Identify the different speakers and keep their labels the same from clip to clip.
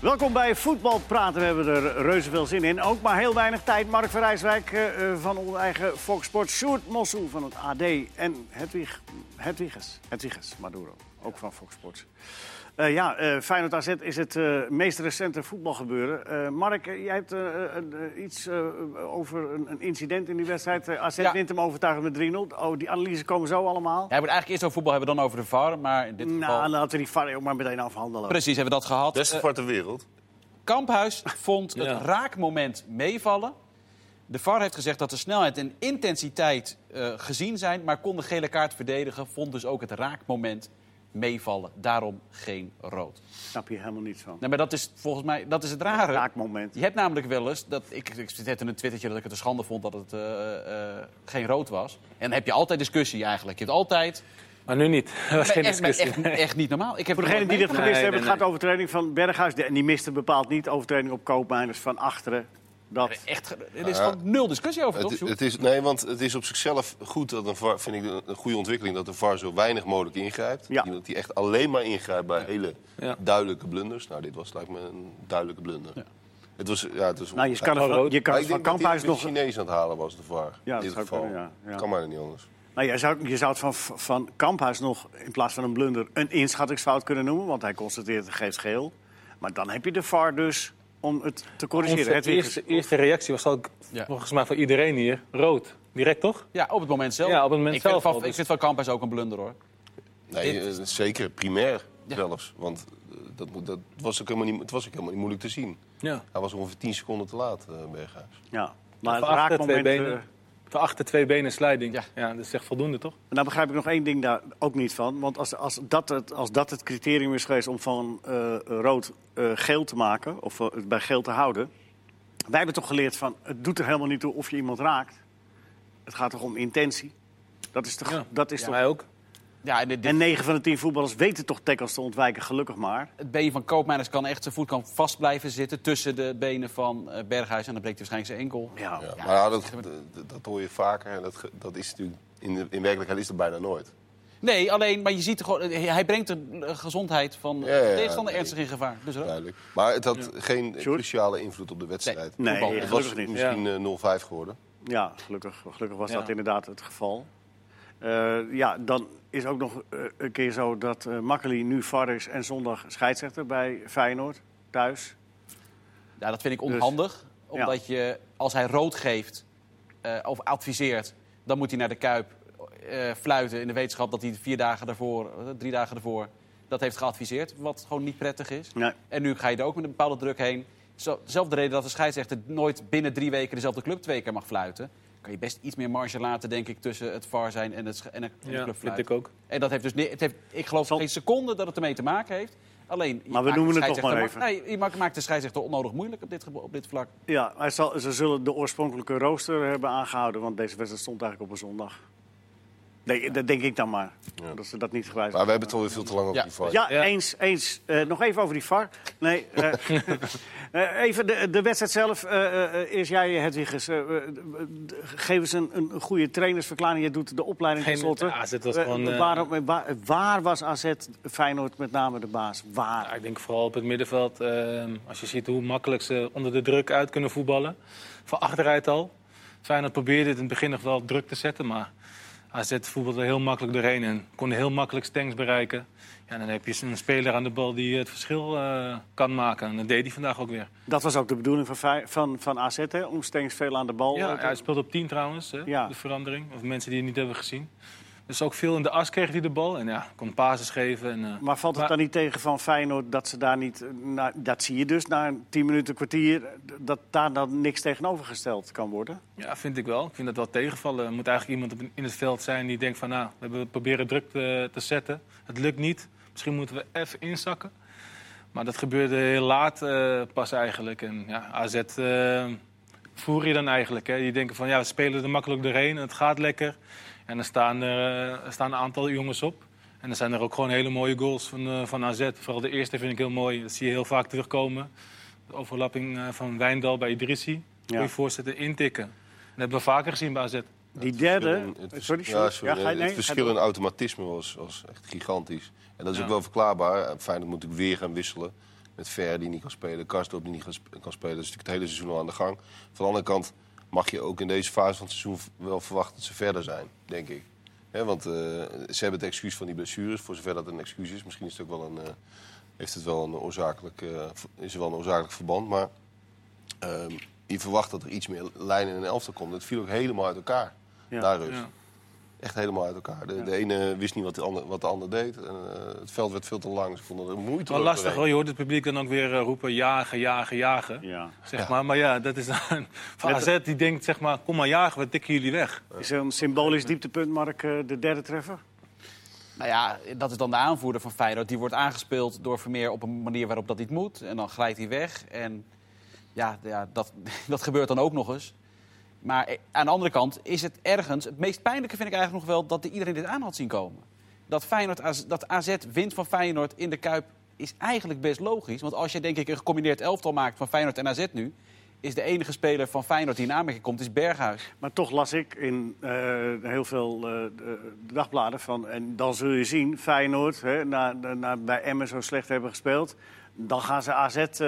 Speaker 1: Welkom bij Voetbal Praten. We hebben er reuze veel zin in. Ook maar heel weinig tijd. Mark van Rijswijk eh, eh, van onze eigen Fox Sports. Sjoerd Mossel van het AD. En Hedwig, Hedwiges, Hedwiges Maduro, ook van Fox Sports. Eh, ja, eh Feyenoord AZ is het eh, meest recente voetbalgebeuren. Eh, Mark, eh, jij hebt eh, een- eh, iets eh, over een, een incident in die wedstrijd. Eh, AZ
Speaker 2: Ja.
Speaker 1: wint hem overtuigend met 3-0. Oh, die analyses komen zo allemaal.
Speaker 2: Ja, we moeten eigenlijk eerst over voetbal hebben, dan over de VAR. Maar in dit
Speaker 1: Nou,
Speaker 2: geval...
Speaker 1: dan laten we die VAR ook maar meteen afhandelen.
Speaker 2: Precies, hebben we dat gehad.
Speaker 3: Beste
Speaker 1: Dus-
Speaker 2: Eh,
Speaker 3: voor ter wereld.
Speaker 2: Kamphuis vond het
Speaker 3: Ja.
Speaker 2: raakmoment meevallen. De VAR heeft gezegd dat de snelheid en intensiteit eh, gezien zijn... maar kon de gele kaart verdedigen, vond dus ook het raakmoment meevallen. Daarom geen rood.
Speaker 1: Snap je helemaal niets van.
Speaker 2: Nee, maar dat is volgens mij dat is het rare.
Speaker 1: Raakmoment.
Speaker 2: Je hebt namelijk wel eens, dat, ik, ik zette een twittertje dat ik het een schande vond dat het eh, eh, geen rood was. En dan heb je altijd discussie eigenlijk. Je hebt altijd...
Speaker 4: Maar nu niet. Dat was geen
Speaker 2: echt,
Speaker 4: discussie.
Speaker 2: echt, echt niet normaal. Ik heb
Speaker 1: Voor degenen die dit
Speaker 2: het
Speaker 1: gemist
Speaker 4: Nee,
Speaker 1: hebben,
Speaker 4: nee,
Speaker 1: het gaat over training van Berghuis. De- En die miste bepaald niet overtreding op koopmijners van achteren. Dat
Speaker 2: Echt, ge- er is gewoon nul discussie over, toch?
Speaker 3: Het,
Speaker 2: Sjoerd?
Speaker 3: het is, nee, want het is op zichzelf goed dat een VAR, vind ik een- een goede ontwikkeling, dat de VAR zo weinig mogelijk ingrijpt.
Speaker 1: Ja.
Speaker 3: Die- Dat hij echt alleen maar ingrijpt bij hele duidelijke blunders. Nou, dit was lijkt me een duidelijke blunder. Het was, ja, het was
Speaker 1: nou, je kan
Speaker 3: Maar
Speaker 1: het van,
Speaker 4: rood.
Speaker 1: je kan het
Speaker 3: ik
Speaker 1: van
Speaker 3: denk dat hij
Speaker 1: Kamphuis
Speaker 3: een nog...
Speaker 1: nog...
Speaker 3: Chinees aan het halen was, de VAR.
Speaker 1: dat
Speaker 3: in dit
Speaker 1: zou
Speaker 3: geval.
Speaker 1: kunnen, ja, ja.
Speaker 3: Kan maar niet anders.
Speaker 1: Nou, je, zou, je zou het van, van Kamphuis nog in plaats van een blunder een inschattingsfout kunnen noemen. Want hij constateert het geeft geel. Maar dan heb je de VAR dus om het te
Speaker 4: Onze
Speaker 1: corrigeren. Het
Speaker 4: eerste, eerste reactie was ook,
Speaker 2: Ja.
Speaker 4: volgens mij voor iedereen hier, rood. Direct toch?
Speaker 2: Ja, op het moment zelf.
Speaker 4: Ja, op het moment
Speaker 2: ik vind
Speaker 4: zelf
Speaker 2: Van,
Speaker 4: al, dus-
Speaker 2: Ik vind van Kamphuis ook een blunder, hoor.
Speaker 3: Nee,
Speaker 2: Dit-
Speaker 3: eh, zeker. Primair
Speaker 2: Ja.
Speaker 3: zelfs. Want eh, dat, moet- dat was ook helemaal niet, het was ook helemaal niet moeilijk te zien.
Speaker 4: Ja.
Speaker 3: Hij was ongeveer 10 seconden te laat, eh, Berghuis.
Speaker 1: ja, maar het
Speaker 4: Van achter twee
Speaker 1: raakmoment... eh,
Speaker 4: benen. Van achter twee benen sliding.
Speaker 2: Ja.
Speaker 4: Ja. dat is echt voldoende toch?
Speaker 1: En daar begrijp ik nog één ding daar ook niet van. Want als, als, dat, het, als dat het criterium is geweest om van eh, rood eh, geel te maken, of eh, het bij geel te houden. Wij hebben toch geleerd van het doet er helemaal niet toe of je iemand raakt. Het gaat toch om intentie. Dat is toch.
Speaker 4: Ja.
Speaker 1: Dat is toch
Speaker 4: Mij ook.
Speaker 2: Ja, en dit, dit-
Speaker 1: en 9 van de 10 voetballers weten toch tackles te ontwijken, gelukkig maar.
Speaker 2: het been van Koopmeiners kan echt... Zijn voet kan vast blijven zitten tussen de benen van eh, Berghuis. En dan breekt hij waarschijnlijk zijn enkel.
Speaker 1: Oh, Ja.
Speaker 3: Ja, maar ja, dat, dat, dat hoor je vaker. En dat, ge- dat is natuurlijk, in, de- in werkelijkheid is dat bijna nooit.
Speaker 2: Nee, alleen, maar je ziet er gewoon... Hij brengt de eh, gezondheid van de
Speaker 3: Ja, ja, ja,
Speaker 2: tegenstander
Speaker 3: nee.
Speaker 2: ernstig in gevaar. Dus, hoor.
Speaker 3: Duidelijk. Maar het had geen cruciale invloed op de wedstrijd.
Speaker 1: Nee,
Speaker 2: Voetbal.
Speaker 3: het
Speaker 1: gelukkig
Speaker 3: was
Speaker 1: niet.
Speaker 3: misschien eh, 0-5 geworden.
Speaker 1: Ja, gelukkig, gelukkig was
Speaker 4: Ja.
Speaker 1: dat inderdaad het geval. Eh, ja, dan is ook nog eh, een keer zo dat eh Makkeli nu VAR is en zondag scheidsrechter bij Feyenoord thuis.
Speaker 2: Ja, dat
Speaker 4: Dus-
Speaker 2: vind ik onhandig. Omdat je, als hij rood geeft eh, of adviseert... dan moet hij naar de Kuip eh, fluiten in de wetenschap... dat hij vier dagen daarvoor, eh, drie dagen daarvoor... dat heeft geadviseerd, wat gewoon niet prettig is.
Speaker 1: Nee.
Speaker 2: En nu ga je er ook met een bepaalde druk heen. Zo, dezelfde reden dat de scheidsrechter nooit binnen drie weken dezelfde club twee keer mag fluiten. Kan je best iets meer marge laten, denk ik, tussen het VAR zijn en, het, sche- en, de- en de
Speaker 4: Ja,
Speaker 2: club
Speaker 4: vind ik ook.
Speaker 2: En dat heeft dus ni- het heeft, ik geloof
Speaker 1: Zal-
Speaker 2: geen seconde dat het ermee te maken heeft. Alleen, je
Speaker 1: Maar we
Speaker 2: maakt
Speaker 1: noemen
Speaker 2: de
Speaker 1: het toch maar
Speaker 2: scheidsrechter-
Speaker 1: even.
Speaker 2: Nee, je maakt maakt de scheidsrechter onnodig moeilijk op dit, gebo- op dit vlak.
Speaker 1: Ja, hij zal, ze zullen de oorspronkelijke rooster hebben aangehouden, want deze wedstrijd stond eigenlijk op een zondag. Nee, dat denk ik dan maar. Dat ze dat niet gewijzigd
Speaker 3: Maar we hebben het alweer veel te lang over
Speaker 2: Ja.
Speaker 3: die VAR.
Speaker 1: Ja,
Speaker 4: Ja.
Speaker 1: eens. eens. Eh, nog even over die VAR. Nee, eh, eh, even de, de wedstrijd zelf. eh, eh, eh, eerst jij, Hedwiges. eh, eh, d- geef eens een, een goede trainersverklaring. Je doet de opleiding
Speaker 4: Geen-
Speaker 1: tenslotte.
Speaker 4: AZ was
Speaker 1: Eh,
Speaker 4: gewoon, eh,
Speaker 1: waarom- eh, waar, waar was AZ Feyenoord met name de baas? Waar?
Speaker 4: Ja, Nou, ik denk vooral op het middenveld. ehm, als je ziet hoe makkelijk ze onder de druk uit kunnen voetballen. Van achteruit al. Feyenoord probeerde het in het begin nog wel druk te zetten. Maar AZ voetbalde heel makkelijk doorheen. En kon heel makkelijk stanks bereiken. Ja, dan heb je een speler aan de bal die het verschil eh, kan maken. En dat deed hij vandaag ook weer.
Speaker 1: Dat was ook de bedoeling van, Fey- van, van AZ, hè? Om Stengs veel aan de bal.
Speaker 4: Ja,
Speaker 1: eh, te-
Speaker 4: hij speelde op 10 trouwens, hè,
Speaker 1: Ja.
Speaker 4: de verandering. Of mensen die het niet hebben gezien. Dus ook veel in de as kreeg hij de bal. En ja, kon pases geven. En, eh,
Speaker 1: Maar valt het
Speaker 4: Maar-
Speaker 1: dan niet tegen van Feyenoord dat ze daar niet... eh, na- dat zie je dus na tien minuten, kwartier... d- dat daar dan niks tegenovergesteld kan worden?
Speaker 4: Ja, vind ik wel. Ik vind dat wel tegenvallen. Er moet eigenlijk iemand op- in het veld zijn die denkt van... nou, we hebben- we proberen druk te, te zetten. Het lukt niet. Misschien moeten we even inzakken. Maar dat gebeurde heel laat eh, pas eigenlijk. En ja, AZ eh, voer je dan eigenlijk. Hè? Die denken van, ja, we spelen er makkelijk doorheen. Het gaat lekker. En dan staan er, eh, er staan een aantal jongens op. En dan zijn er ook gewoon hele mooie goals van, eh, van AZ. Vooral de eerste vind ik heel mooi. Dat zie je heel vaak terugkomen. De overlapping eh, van Wijndal bij Idrissi.
Speaker 1: Ja.
Speaker 4: Kun je voorzetten, intikken. Dat hebben we vaker gezien bij AZ.
Speaker 1: Die
Speaker 3: verschil
Speaker 1: derde. Eh,
Speaker 3: in- het,
Speaker 1: sorry,
Speaker 3: sorry,
Speaker 1: Sjoerd.
Speaker 3: ja, sorry,
Speaker 1: Ja, ga je- nee,
Speaker 3: het verschil
Speaker 1: ga
Speaker 3: in
Speaker 1: door.
Speaker 3: automatisme was, was echt gigantisch. En dat is
Speaker 4: Ja.
Speaker 3: ook wel verklaarbaar. Eh, Feyenoord moet ik weer gaan wisselen. Met Ver die niet kan spelen, Karstorp die niet kan sp- kan spelen. Dat is natuurlijk het hele seizoen al aan de gang. Van de andere kant mag je ook in deze fase van het seizoen v- wel verwachten dat ze verder zijn, denk ik. Hè, want eh, ze hebben het excuus van die blessures, voor zover dat een excuus is. Misschien is het ook wel een, eh, heeft het wel een oorzakelijk, eh, v- is er wel een oorzakelijk verband. Maar ehm, je verwacht dat er iets meer lijn in een elftal komt. Het viel ook helemaal uit elkaar,
Speaker 1: Ja.
Speaker 3: na rust
Speaker 4: Ja.
Speaker 3: dus. echt helemaal uit elkaar. De, de ene wist niet wat de ander, wat de ander deed. En, eh, het veld werd veel te lang. Ze vonden het moeite.
Speaker 4: Wel
Speaker 3: om
Speaker 4: lastig
Speaker 3: doorheen.
Speaker 4: hoor, je hoort het publiek dan ook weer eh, roepen jagen, jagen, jagen.
Speaker 1: Ja.
Speaker 4: Zeg maar. maar ja, dat is dan van
Speaker 1: Net-
Speaker 4: AZ die denkt zeg maar, kom maar jagen, we tikken jullie weg.
Speaker 1: Is er een symbolisch dieptepunt, Mark, eh, de derde treffer?
Speaker 2: Nou ja, dat is dan de aanvoerder van Feyenoord. Die wordt aangespeeld door Vermeer op een manier waarop dat niet moet. En dan glijdt hij weg. En ja, ja dat, dat gebeurt dan ook nog eens. Maar eh, aan de andere kant is het ergens... Het meest pijnlijke vind ik eigenlijk nog wel dat iedereen dit aan had zien komen. Dat, Feyenoord, AZ dat AZ wint van Feyenoord in de Kuip is eigenlijk best logisch. Want als je denk ik een gecombineerd elftal maakt van Feyenoord en AZ nu... is de enige speler van Feyenoord die in aanmerking komt, is Berghuis.
Speaker 1: Maar toch las ik in eh, heel veel eh, de- de dagbladen van... en dan zul je zien, Feyenoord, hè, na, na, na- bij Emmen zo slecht hebben gespeeld... dan gaan ze AZ eh, eh,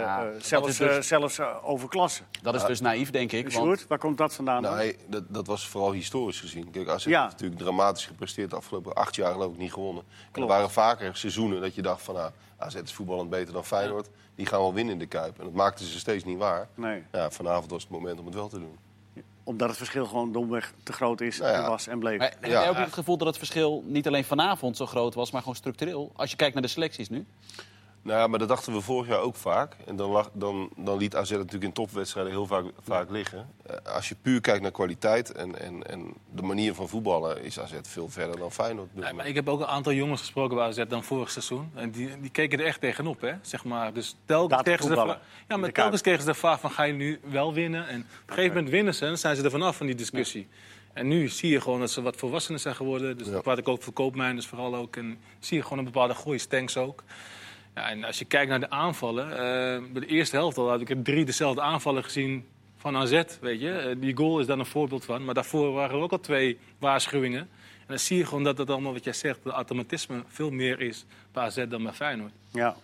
Speaker 2: Ja,
Speaker 1: eh,
Speaker 2: dat
Speaker 1: zelfs,
Speaker 2: is dus-
Speaker 1: eh, zelfs eh, overklassen.
Speaker 2: Dat is dus naïef, denk ik.
Speaker 1: Dus
Speaker 2: want-
Speaker 1: Sjoerd, waar komt dat vandaan?
Speaker 3: Nou,
Speaker 1: dan?
Speaker 3: hij- dat, dat was vooral historisch gezien. Kijk, AZ
Speaker 1: Ja.
Speaker 3: heeft natuurlijk dramatisch gepresteerd. De afgelopen acht jaar geloof ik niet gewonnen. En er
Speaker 1: Klopt.
Speaker 3: waren vaker seizoenen dat je dacht van... Nou, AZ is voetballend beter dan Feyenoord. Die gaan wel winnen in de Kuip. En dat maakten ze steeds niet waar.
Speaker 1: Nee,
Speaker 3: Ja, vanavond was het moment om het wel te doen.
Speaker 1: omdat het verschil gewoon domweg te groot is,
Speaker 3: Nou ja.
Speaker 1: en was en bleef.
Speaker 2: Maar heb
Speaker 3: Ja.
Speaker 2: jij ook niet het gevoel dat het verschil niet alleen vanavond zo groot was, maar gewoon structureel? Als je kijkt naar de selecties nu.
Speaker 3: Nou ja, maar dat dachten we vorig jaar ook vaak. En dan, lag, dan, dan liet AZ het natuurlijk in topwedstrijden heel vaak, vaak liggen. Eh, Als je puur kijkt naar kwaliteit en, en, en de manier van voetballen... is AZ veel verder dan Feyenoord.
Speaker 4: Nee, maar ik heb ook een aantal jongens gesproken bij AZ dan vorig seizoen. En die, die keken er echt tegenop, hè? Zeg maar. Dus telkens
Speaker 1: Laten
Speaker 4: kregen ze de
Speaker 1: voetballen.
Speaker 4: vraag, ja, maar
Speaker 1: De
Speaker 4: telkens kregen ze de vraag van ga je nu wel winnen? En op een gegeven moment winnen ze en dan zijn ze er vanaf van die discussie. En nu zie je gewoon dat ze wat volwassener zijn geworden. Dus
Speaker 3: Ja.
Speaker 4: daar praat ik ook voor koopmijners vooral ook. En zie je gewoon een bepaalde groei, Stanks ook. Ja, en als je kijkt naar de aanvallen, eh, bij de eerste helft al had ik er drie dezelfde aanvallen gezien van AZ, weet je. Eh, die goal is daar een voorbeeld van, maar daarvoor waren er ook al twee waarschuwingen. En dan zie je gewoon dat dat allemaal wat jij zegt, dat automatisme veel meer is bij AZ dan bij Feyenoord.
Speaker 1: Ja.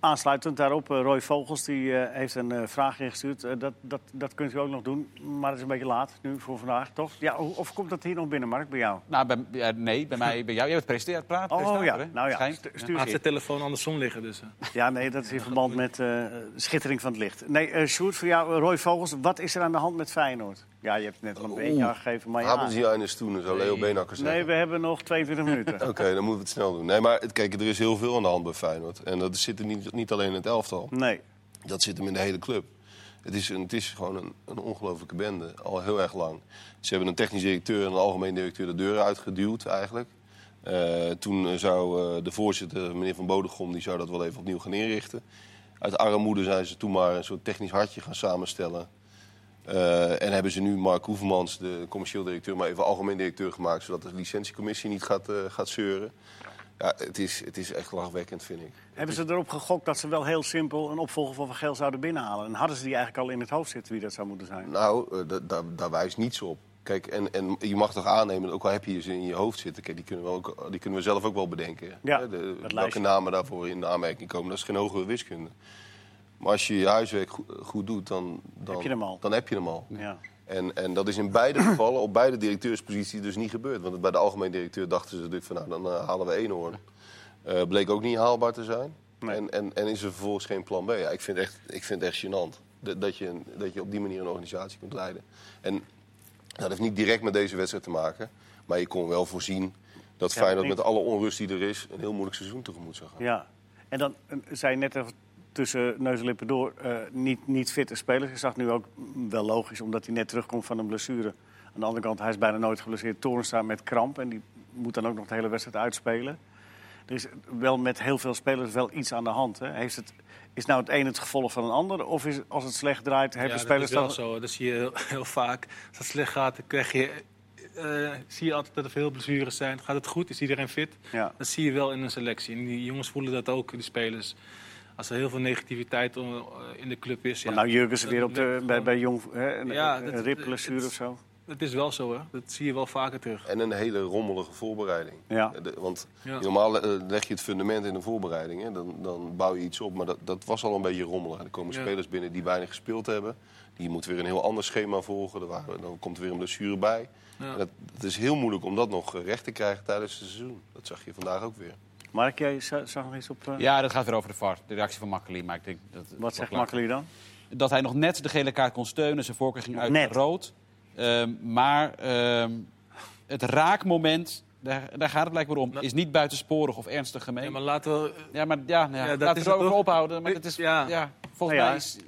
Speaker 1: Aansluitend daarop, eh, Roy Vogels die, eh, heeft een eh, vraag ingestuurd. Eh, dat, dat, dat kunt u ook nog doen, maar het is een beetje laat nu voor vandaag, toch? Ja, o- of komt dat hier nog binnen, Mark, bij jou?
Speaker 2: Nou, bij, ja, nee, bij mij, bij jou. Jij bent presenteert, praat.
Speaker 1: Oh
Speaker 2: presentator,
Speaker 1: ja,
Speaker 2: hè?
Speaker 1: nou ja,
Speaker 2: Schijn.
Speaker 1: stu-
Speaker 4: Hij
Speaker 1: stuur
Speaker 4: had
Speaker 1: ze
Speaker 4: zijn telefoon andersom liggen dus. eh.
Speaker 1: in. Ja, nee, dat is in verband met eh, schittering van het licht. Nee, eh Sjoerd, voor jou, eh, Roy Vogels, wat is er aan de hand met Feyenoord? Ja, je hebt het net al een
Speaker 3: Oeh.
Speaker 1: beetje aangegeven, maar
Speaker 3: Hebben
Speaker 1: ja.
Speaker 3: ze eines toen, zou Leo Beenhakker zeggen.
Speaker 1: Nee, we hebben nog 22 minuten.
Speaker 3: Oké, dan moeten we het snel doen. Nee, maar het- kijk, er is heel veel aan de hand bij Feyenoord. En dat zit er niet, niet alleen in het elftal.
Speaker 1: Nee,
Speaker 3: Dat zit hem in de hele club. Het is, een, het is gewoon een, een ongelofelijke bende, al heel erg lang. Ze hebben een technisch directeur en een algemeen directeur de deuren uitgeduwd eigenlijk. Eh, toen eh, zou eh, de voorzitter, meneer Van Bodegom, die zou dat wel even opnieuw gaan inrichten. Uit armoede zijn ze toen maar een soort technisch hartje gaan samenstellen. Eh, en hebben ze nu Mark Hoefmans, de commercieel directeur, maar even algemeen directeur gemaakt... zodat de licentiecommissie niet gaat, eh, gaat zeuren. Ja, het, is, het is echt lachwekkend, vind ik.
Speaker 1: Hebben ze erop gegokt dat ze wel heel simpel een opvolger van Van Geel zouden binnenhalen? En hadden ze die eigenlijk al in het hoofd zitten wie dat zou moeten zijn?
Speaker 3: Nou, eh, da- da- daar wijst niets op. Kijk, en, en je mag toch aannemen, ook al heb je ze in je hoofd zitten... Kijk, die, kunnen we ook, die kunnen we zelf ook wel bedenken.
Speaker 1: Ja,
Speaker 3: Hè, de-
Speaker 1: dat
Speaker 3: welke
Speaker 1: lijstje.
Speaker 3: namen daarvoor in de aanmerking komen, dat is geen hogere wiskunde. Maar als je je huiswerk goed, goed doet, dan, dan,
Speaker 1: Heb je hem al.
Speaker 3: dan heb je hem al.
Speaker 1: Ja.
Speaker 3: En, en dat is in beide gevallen, op beide directeursposities, dus niet gebeurd. Want bij de algemeen directeur dachten ze natuurlijk van, nou, dan eh, halen we één hoorn. Eh, bleek ook niet haalbaar te zijn.
Speaker 1: Nee.
Speaker 3: En, en, en is er vervolgens geen plan B. Ja, ik, vind echt, ik vind het echt gênant dat, dat, je, een- dat je op die manier een organisatie kunt leiden. En dat heeft niet direct met deze wedstrijd te maken. Maar je kon wel voorzien dat
Speaker 1: Ja,
Speaker 3: Feyenoord
Speaker 1: niet.
Speaker 3: met alle onrust die er is... een heel moeilijk seizoen tegemoet zou gaan.
Speaker 1: Ja, en dan eh, zei je net even tussen neus en lippen door, eh, niet, niet fitte spelers. Ik zag nu ook mm, wel logisch, omdat hij net terugkomt van een blessure. Aan de andere kant, hij is bijna nooit geblesseerd. Torenstra met kramp en die moet dan ook nog de hele wedstrijd uitspelen. Er is wel met heel veel spelers wel iets aan de hand. Hè? Heeft het, is nou het een het gevolg van een ander? Of is, als het slecht draait, hebben
Speaker 4: ja,
Speaker 1: spelers
Speaker 4: dat
Speaker 1: dan...
Speaker 4: is wel zo. hoor. Dat zie je heel, heel vaak. Als het slecht gaat, dan krijg je, eh, zie je altijd dat er veel blessures zijn. Gaat het goed? Is iedereen fit?
Speaker 1: Ja.
Speaker 4: Dat zie je wel in een selectie. En die jongens voelen dat ook, die spelers. Als er heel veel negativiteit om- eh, in de club is.
Speaker 1: Want nou, Jurgensen
Speaker 4: dat
Speaker 1: weer op de,
Speaker 4: werkt
Speaker 1: bij,
Speaker 4: gewoon.
Speaker 1: bij Jong, hè, een,
Speaker 4: Ja,
Speaker 1: een
Speaker 4: dat-
Speaker 1: ribblessure
Speaker 4: het-
Speaker 1: of zo.
Speaker 4: het is wel zo, hè. Dat zie je wel vaker terug.
Speaker 3: En een hele rommelige voorbereiding.
Speaker 1: Ja.
Speaker 3: Eh, de- want
Speaker 4: Ja.
Speaker 3: normaal eh, leg je het fundament in de voorbereiding. Hè? Dan, dan bouw je iets op. Maar dat, dat was al een beetje rommelig. Er komen
Speaker 4: Ja.
Speaker 3: spelers binnen die weinig gespeeld hebben. Die moeten weer een heel ander schema volgen. Er waren- dan komt er weer een blessure bij.
Speaker 4: Ja.
Speaker 3: En Dat, het is heel moeilijk om dat nog eh, recht te krijgen tijdens het seizoen. Dat zag je vandaag ook weer.
Speaker 1: Mark, jij za- zag nog iets op... eh,
Speaker 2: Ja, dat gaat weer over de VAR. De reactie van Makkeli. Maar ik denk dat,
Speaker 1: Wat zegt
Speaker 2: Makkeli?
Speaker 1: Makkeli dan?
Speaker 2: dat hij nog net de gele kaart kon steunen. Zijn voorkeur ging uit
Speaker 1: Net.
Speaker 2: rood. Ehm, maar ehm, het raakmoment, daar, daar gaat het blijkbaar om, is niet buitensporig of ernstig gemeen.
Speaker 4: Ja, maar laten we...
Speaker 2: ja, maar, ja, nou ja,
Speaker 4: Ja, dat
Speaker 2: laten we
Speaker 4: is
Speaker 2: het
Speaker 4: het
Speaker 2: over
Speaker 4: ook.
Speaker 2: ophouden. Maar het is, ja.
Speaker 4: Ja.
Speaker 2: volgens
Speaker 1: Nou ja.
Speaker 2: mij is...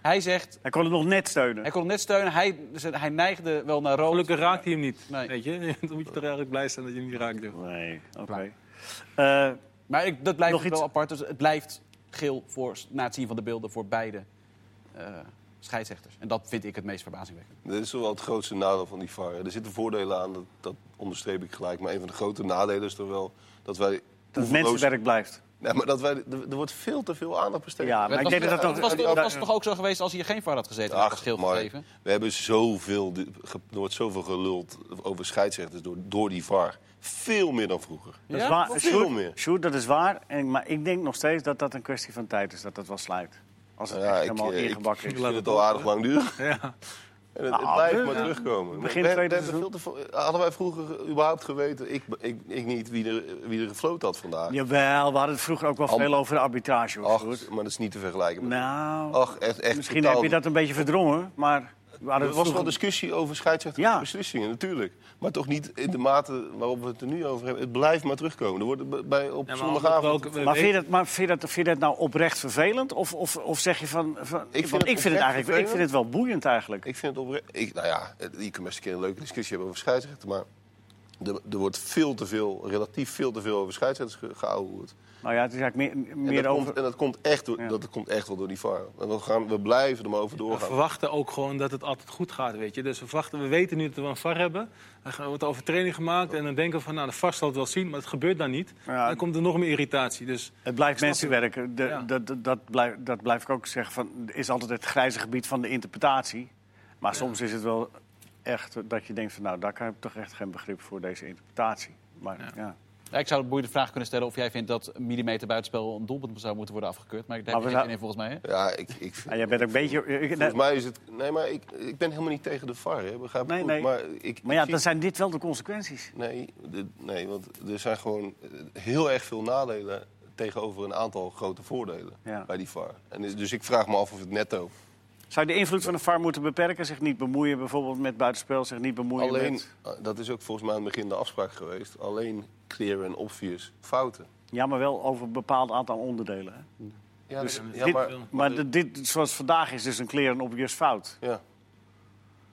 Speaker 2: Hij zegt,
Speaker 1: Hij kon het nog net steunen.
Speaker 2: hij kon hem net steunen. Hij, dus hij neigde wel naar rood.
Speaker 4: Gelukkig raakt hij hem niet.
Speaker 2: Nee.
Speaker 4: Weet je? Dan moet je toch eigenlijk blij zijn dat je hem niet raakt. joh.
Speaker 1: Nee, oké.
Speaker 2: Klaar.
Speaker 1: Eh,
Speaker 2: Maar ik, dat blijft
Speaker 1: Nog
Speaker 2: wel
Speaker 1: iets?
Speaker 2: apart. Dus het blijft geel voor, na het zien van de beelden voor beide eh, scheidsrechters. En dat vind ik het meest verbazingwekkend.
Speaker 3: Dit is wel het grootste nadeel van die VAR. Er zitten voordelen aan, dat, dat onderstreep ik gelijk. Maar een van de grote nadelen is toch wel dat wij...
Speaker 1: dat
Speaker 3: oeverloos-
Speaker 1: mensenwerk blijft.
Speaker 3: Nee, maar dat wij, er er wordt veel te veel aandacht besteed.
Speaker 1: Ja, maar ik denk dat dat
Speaker 2: Het was,
Speaker 1: nog...
Speaker 2: het was toch ook zo geweest als hij er geen VAR had gezeten? had
Speaker 3: Ach,
Speaker 2: dat geel
Speaker 3: Mark,
Speaker 2: gegeven.
Speaker 3: We hebben zoveel, de- ge- er wordt zoveel geluld over scheidsrechters door, door die VAR. Veel meer dan vroeger.
Speaker 1: Dat is
Speaker 2: Ja?
Speaker 1: waar.
Speaker 3: Veel
Speaker 1: Sjoerd-
Speaker 3: meer.
Speaker 1: Sjoerd, dat is waar. En, maar ik denk nog steeds dat dat een kwestie van tijd is, dat dat wel sluit. Als het
Speaker 3: Ja,
Speaker 1: echt
Speaker 3: ik-
Speaker 1: helemaal
Speaker 3: eh, ik-
Speaker 1: ingebakken
Speaker 3: Ik
Speaker 1: is.
Speaker 3: vind het al aardig lang duren.
Speaker 4: Ja.
Speaker 3: En het, het
Speaker 1: Nou,
Speaker 3: blijft
Speaker 1: we-
Speaker 3: maar
Speaker 1: ja.
Speaker 3: terugkomen.
Speaker 1: Begin
Speaker 3: We- we
Speaker 1: tweede
Speaker 3: hebben veel te veel- hadden wij vroeger überhaupt geweten, ik, ik, ik niet, wie er, wie er gefloten had vandaag.
Speaker 1: Jawel, we hadden het vroeger ook wel
Speaker 3: Am-
Speaker 1: veel over de arbitrage. hoor,
Speaker 3: Ach,
Speaker 1: Sjoerd.
Speaker 3: maar dat is niet te vergelijken. met-
Speaker 1: Nou,
Speaker 3: Ach, echt, echt
Speaker 1: misschien
Speaker 3: totaal-
Speaker 1: heb je dat een beetje verdrongen, maar... We hadden
Speaker 3: Er
Speaker 1: het
Speaker 3: was wel
Speaker 1: vroeger-
Speaker 3: discussie over scheidsrechterbeslissingen,
Speaker 1: Ja.
Speaker 3: beslissingen, natuurlijk. Maar toch niet in de mate waarop we het er nu over hebben. Het blijft maar terugkomen. Er wordt b- bij, op
Speaker 4: Ja, maar
Speaker 3: zondagavond...
Speaker 4: omdat we ook-
Speaker 1: Maar
Speaker 4: we
Speaker 1: vind je dat, maar vind je dat, vind je dat nou oprecht vervelend? Of, of, of zeg je van... van
Speaker 3: vind
Speaker 1: want
Speaker 3: het
Speaker 1: ik vind
Speaker 3: oprecht
Speaker 1: het eigenlijk ik vind
Speaker 3: vervelend.
Speaker 1: het wel boeiend eigenlijk.
Speaker 3: Ik vind het oprecht... Ik, nou ja, het- je kunt best een keer een leuke discussie hebben over scheidsrechten, maar... Er, er wordt veel te veel, relatief veel te veel over scheidsrechters ge, geouwehoerd.
Speaker 1: Nou ja, het is eigenlijk meer,
Speaker 3: En,
Speaker 1: meer
Speaker 3: dat
Speaker 1: over...
Speaker 3: komt, en dat, komt echt door,
Speaker 1: Ja.
Speaker 3: dat komt echt wel door die VAR. En we, gaan, we blijven er maar over
Speaker 4: We
Speaker 3: doorgaan.
Speaker 4: verwachten ook gewoon dat het altijd goed gaat, weet je. Dus we, verwachten, we weten nu dat we een VAR hebben. Dan gaan- wordt er overtraining gemaakt en dan denken we van... nou, de VAR zal het wel zien, maar het gebeurt dan niet.
Speaker 1: Ja.
Speaker 4: Dan komt er nog meer irritatie. Dus
Speaker 1: Het blijft mensenwerken. De-
Speaker 4: Ja.
Speaker 1: dat, dat, dat, blijf, dat blijf ik ook zeggen. Van, er is altijd het grijze gebied van de interpretatie. Maar soms is het wel echt dat je denkt van... nou, daar kan ik toch echt geen begrip voor deze interpretatie. Maar ja,
Speaker 2: Ja, ik zou de boeiende vraag kunnen stellen of jij vindt dat een millimeter buitenspel een doelpunt zou moeten worden afgekeurd. Maar daar
Speaker 1: Maar
Speaker 2: heb
Speaker 1: we
Speaker 2: je geen
Speaker 1: zou-
Speaker 2: zin in volgens mij. Hè?
Speaker 3: Ja, ik, ik vind-
Speaker 1: En Ah, jij bent ook een beetje... eh, ik-
Speaker 3: Volgens mij is het... Nee, maar ik, ik ben helemaal niet tegen de VAR, hè. begrijp me
Speaker 1: Nee,
Speaker 3: goed.
Speaker 1: nee.
Speaker 3: Maar, ik,
Speaker 1: maar ja,
Speaker 3: ik zie-
Speaker 1: dan zijn dit wel de consequenties.
Speaker 3: Nee, de- nee, want er zijn gewoon eh, heel erg veel nadelen tegenover een aantal grote voordelen
Speaker 1: Ja.
Speaker 3: bij die VAR. En dus- dus ik vraag me af of het netto.
Speaker 1: Zou je de invloed van de VAR moeten beperken? Zich niet bemoeien bijvoorbeeld met buitenspel? Zich niet bemoeien
Speaker 3: Alleen,
Speaker 1: met...
Speaker 3: eh, dat is ook volgens mij aan het begin de afspraak geweest, alleen clear en obvious fouten.
Speaker 1: Ja, maar wel over een bepaald aantal onderdelen. Hè?
Speaker 3: Ja,
Speaker 1: Dus
Speaker 3: dat- ja,
Speaker 1: dit-
Speaker 3: maar,
Speaker 1: Maar de- dit, zoals vandaag is dus een kleren obvious fout.
Speaker 3: ja,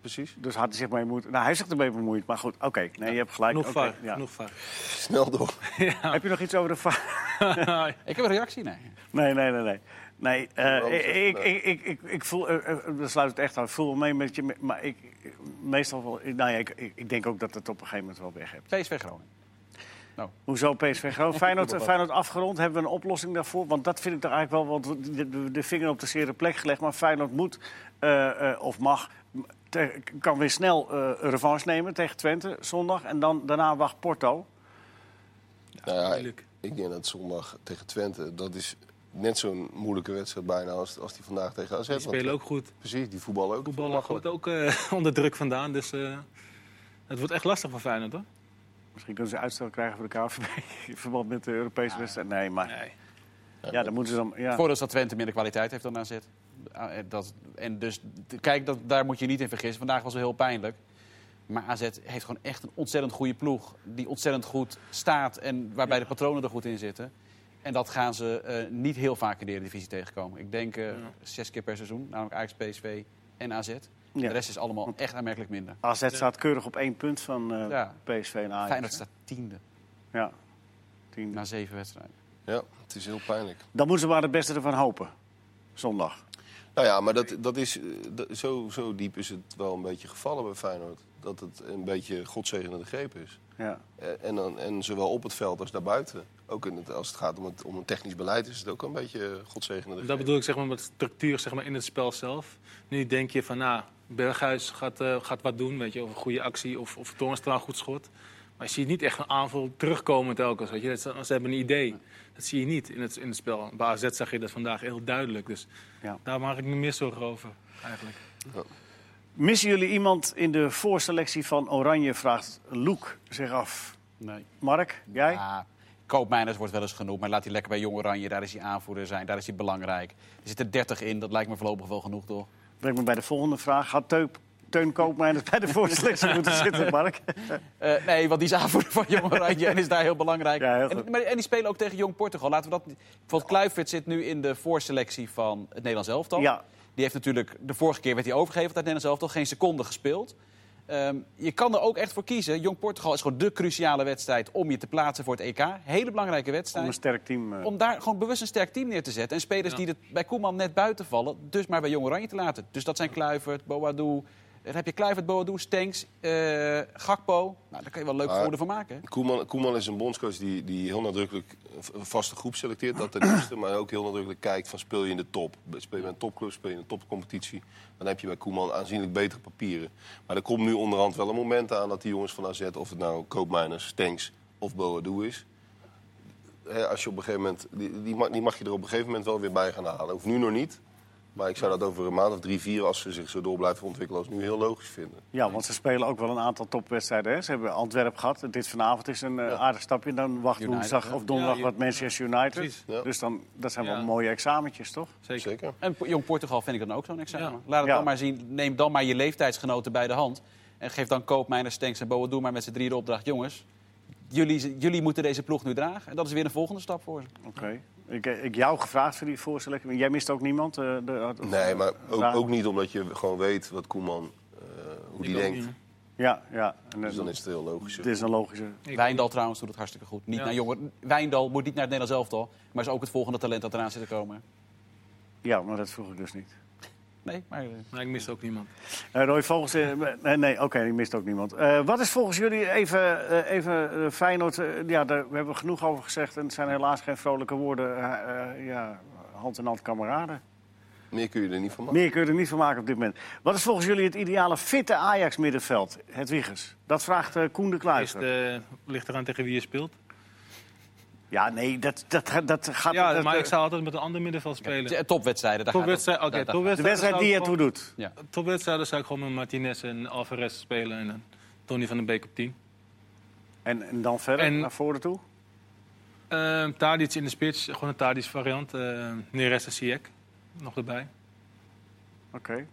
Speaker 3: precies.
Speaker 1: Dus had hij zich mee moeten... Nou, hij zegt ermee bemoeid, maar goed. Oké, nee, je hebt gelijk.
Speaker 4: nog
Speaker 1: Oké,
Speaker 4: VAR,
Speaker 1: ja.
Speaker 4: nog VAR.
Speaker 3: Snel door.
Speaker 1: Heb je nog iets over de VAR?
Speaker 2: Ik heb een reactie, nee.
Speaker 1: Nee, nee, nee, nee. Nee, eh,
Speaker 3: Waarom zeg je
Speaker 1: ik,
Speaker 3: dat?
Speaker 1: ik, ik, ik, ik voel, eh, eh, daar sluit het echt aan. Ik voel wel mee met je, maar ik, meestal wel, nou ja, ik, ik, ik denk ook dat het op een gegeven moment wel weg hebt.
Speaker 2: PSV Groningen.
Speaker 1: Hoezo PSV Groningen? Feyenoord, Feyenoord afgerond, hebben we een oplossing daarvoor? Want dat vind ik toch eigenlijk wel, want de, de, de vinger op de zere plek gelegd. Maar Feyenoord moet, eh, eh, of mag, m- te- kan weer snel eh, revanche nemen tegen Twente zondag. En dan, daarna wacht Porto.
Speaker 3: Nou ja, ik,
Speaker 4: moeilijk.
Speaker 3: ik denk dat zondag tegen Twente, dat is net zo'n moeilijke wedstrijd bijna als, als die vandaag tegen AZ.
Speaker 4: Die spelen ook goed.
Speaker 3: Precies, die voetballen ook.
Speaker 4: Voetballer komt ook eh, onder druk vandaan. Dus eh, het wordt echt lastig voor Feyenoord, hoor.
Speaker 1: Misschien kunnen ze uitstel krijgen voor de KVB in verband met de Europese wedstrijd. Nee, maar
Speaker 4: Nee.
Speaker 1: ja, dan moeten ze dan... Ja.
Speaker 2: Voordeel is dat Twente minder kwaliteit heeft dan AZ. Ah, eh, Dat, en dus, d- kijk, dat, daar moet je niet in vergissen. Vandaag was het heel pijnlijk. Maar AZ heeft gewoon echt een ontzettend goede ploeg. Die ontzettend goed staat en waarbij de patronen er goed in zitten. En dat gaan ze eh, niet heel vaak in de Eredivisie tegenkomen. Ik denk eh, zes keer per seizoen, namelijk Ajax, PSV en AZ.
Speaker 1: Ja.
Speaker 2: De rest is allemaal echt aanmerkelijk minder.
Speaker 1: AZ staat keurig op één punt van eh,
Speaker 2: Ja.
Speaker 1: PSV en Ajax.
Speaker 2: Feyenoord
Speaker 1: hè?
Speaker 2: staat tiende
Speaker 1: Ja. Tien.
Speaker 2: na zeven wedstrijden.
Speaker 3: Ja, het is heel pijnlijk.
Speaker 1: Dan moeten ze maar het beste ervan hopen. Zondag.
Speaker 3: Nou ja, maar dat, dat is, eh, dat- zo, zo diep is het wel een beetje gevallen bij Feyenoord. Dat het een beetje godzegende greep is.
Speaker 1: Ja.
Speaker 3: Eh, En, dan, en zowel op het veld als daarbuiten. Ook in het, als het gaat om, het, om een technisch beleid is het ook een beetje eh, godzegende greep.
Speaker 4: Dat bedoel ik zeg maar, met structuur zeg maar, in het spel zelf. Nu denk je van, nou, Berghuis gaat, eh, gaat wat doen, weet je, of een goede actie, of, of Toornstra een goed schot. Maar je ziet niet echt een aanval terugkomen telkens, weet je. Dat Ze, ze hebben een idee. Dat zie je niet in het, in het spel. Bij AZ zag je dat vandaag heel duidelijk. Dus
Speaker 1: Ja.
Speaker 4: daar maak ik me meer zorgen over, eigenlijk.
Speaker 1: Missen jullie iemand in de voorselectie van Oranje? Vraagt Loek zich af.
Speaker 2: Nee.
Speaker 1: Mark, jij?
Speaker 2: Ja, Koopmeiners wordt wel eens genoemd, maar laat hij lekker bij Jong Oranje. Daar is hij aanvoerder zijn, daar is hij belangrijk. Er zitten 30 in, dat lijkt me voorlopig wel genoeg, toch?
Speaker 1: Brengt me bij de volgende vraag. Had Teup, Teun Koopmeiners bij de voorselectie moeten zitten, Mark?
Speaker 2: Eh, nee, want die is aanvoerder van Jong Oranje en is daar heel belangrijk.
Speaker 1: Ja, heel goed.
Speaker 2: en, maar, en die spelen ook tegen Jong Portugal. Laten we dat... niet- Bijvoorbeeld Kluivert zit nu in de voorselectie van het Nederlands elftal.
Speaker 1: Ja.
Speaker 2: Die heeft natuurlijk, de vorige keer werd hij overgegeven uit het Nederlands elftal, geen seconde gespeeld. Ehm, je kan er ook echt voor kiezen. Jong Portugal is gewoon de cruciale wedstrijd om je te plaatsen voor het EK. Hele belangrijke
Speaker 1: Om
Speaker 2: wedstrijd.
Speaker 1: een sterk team. eh,
Speaker 2: om daar gewoon bewust een sterk team neer te zetten. En spelers
Speaker 4: Ja.
Speaker 2: die het bij Koeman net buiten vallen, dus maar bij Jong Oranje te laten. Dus dat zijn Kluivert, Boadu. Dan heb je Kluivert, Boadu, Stenks, eh, Gakpo. Nou, daar kan je wel leuk
Speaker 3: Maar-
Speaker 2: voordeel van maken. hè?
Speaker 3: Koeman, Koeman is een bondscoach die, die heel nadrukkelijk een vaste groep selecteert. Dat ten eerste, maar ook heel nadrukkelijk kijkt van speel je in de top. Speel je bij een topclub, speel je in een topcompetitie. Dan heb je bij Koeman aanzienlijk betere papieren. Maar er komt nu onderhand wel een moment aan dat die jongens van AZ... of het nou Koopmijners, Stanks of Boadu is... Hè, als je op een gegeven moment, die, die, mag, die mag je er op een gegeven moment wel weer bij gaan halen. Hoeft nu nog niet. Maar ik zou dat over een maand of drie, vier... als ze zich zo door blijven ontwikkelen als nu, heel logisch vinden.
Speaker 1: Ja, want ze spelen ook wel een aantal topwedstrijden. Hè? Ze hebben Antwerpen gehad. Dit vanavond is een eh, aardig stapje. Dan wacht
Speaker 2: United,
Speaker 1: woensdag
Speaker 2: hè?
Speaker 1: of donderdag
Speaker 4: Ja,
Speaker 1: wat Manchester United.
Speaker 4: Precies,
Speaker 3: ja.
Speaker 1: Dus dan, dat zijn wel
Speaker 4: Ja.
Speaker 1: mooie examentjes, toch?
Speaker 4: Zeker.
Speaker 3: Zeker.
Speaker 2: En Po- Jong Portugal vind ik dan ook zo'n examen.
Speaker 4: Ja.
Speaker 2: Laat het
Speaker 1: Ja.
Speaker 2: dan maar zien. Neem dan maar je leeftijdsgenoten bij de hand. En geef dan Koopmeiners, Stenks en Boadu maar met z'n drieën de opdracht. Jongens, jullie, jullie moeten deze ploeg nu dragen. En dat is weer een volgende stap voor ze.
Speaker 1: Oké. Ik, eh, ik jou gevraagd voor die voorselectie. Jij mist ook niemand? eh, de, had- of-
Speaker 3: Nee, maar ook,
Speaker 1: vraag-
Speaker 3: ook niet omdat je gewoon weet wat Koeman, eh, hoe die
Speaker 4: ook
Speaker 3: denkt.
Speaker 4: niet.
Speaker 1: Ja, ja. En, eh,
Speaker 3: Dus dan is het heel logisch.
Speaker 1: Het is een logische...
Speaker 4: Ik-
Speaker 2: Wijndal trouwens doet het hartstikke goed. Niet
Speaker 4: Ja.
Speaker 2: naar jongen. Wijndal moet niet naar het Nederlands elftal. Maar is ook het volgende talent dat eraan zit te komen.
Speaker 1: Ja, maar dat vroeg ik dus niet.
Speaker 2: Nee, maar... eh,
Speaker 4: Maar ik mis ook niemand.
Speaker 1: Eh Roy Vogels... eh, nee, nee oké, ik mist ook niemand. Eh, wat is volgens jullie even, eh, even eh, Feyenoord... eh, ja, daar hebben we genoeg over gezegd. En het zijn helaas geen vrolijke woorden. Eh, eh, ja, hand in hand kameraden.
Speaker 3: Meer kun je er niet van maken.
Speaker 1: Meer kun je er niet van maken op dit moment. Wat is volgens jullie het ideale fitte Ajax-middenveld, Hedwiges? Dat vraagt eh, Koen de
Speaker 4: Is
Speaker 1: Kluiver.
Speaker 4: de, eh, ligt eraan tegen wie je speelt.
Speaker 1: Ja, nee, dat, dat, dat gaat...
Speaker 4: Ja,
Speaker 1: dat,
Speaker 4: maar
Speaker 1: eh,
Speaker 4: ik zou altijd met een ander middenveld spelen.
Speaker 2: Ja, Topwedstrijden, daar
Speaker 4: Topwedstrijd,
Speaker 2: gaat
Speaker 4: oké,
Speaker 2: het- daar- daar gaat
Speaker 1: De
Speaker 4: topwedstrijd.
Speaker 1: wedstrijd die het toe doet.
Speaker 2: het. Ja.
Speaker 4: Topwedstrijden zou ik gewoon met Martinez en Alvarez spelen. En dan Tony van den Beek op 10.
Speaker 1: En, en dan verder,
Speaker 4: En-
Speaker 1: naar voren toe?
Speaker 4: Ehm Tadic in de spits, gewoon een Tadic variant. Ehm Neres en Ziyech nog erbij.
Speaker 1: Oké.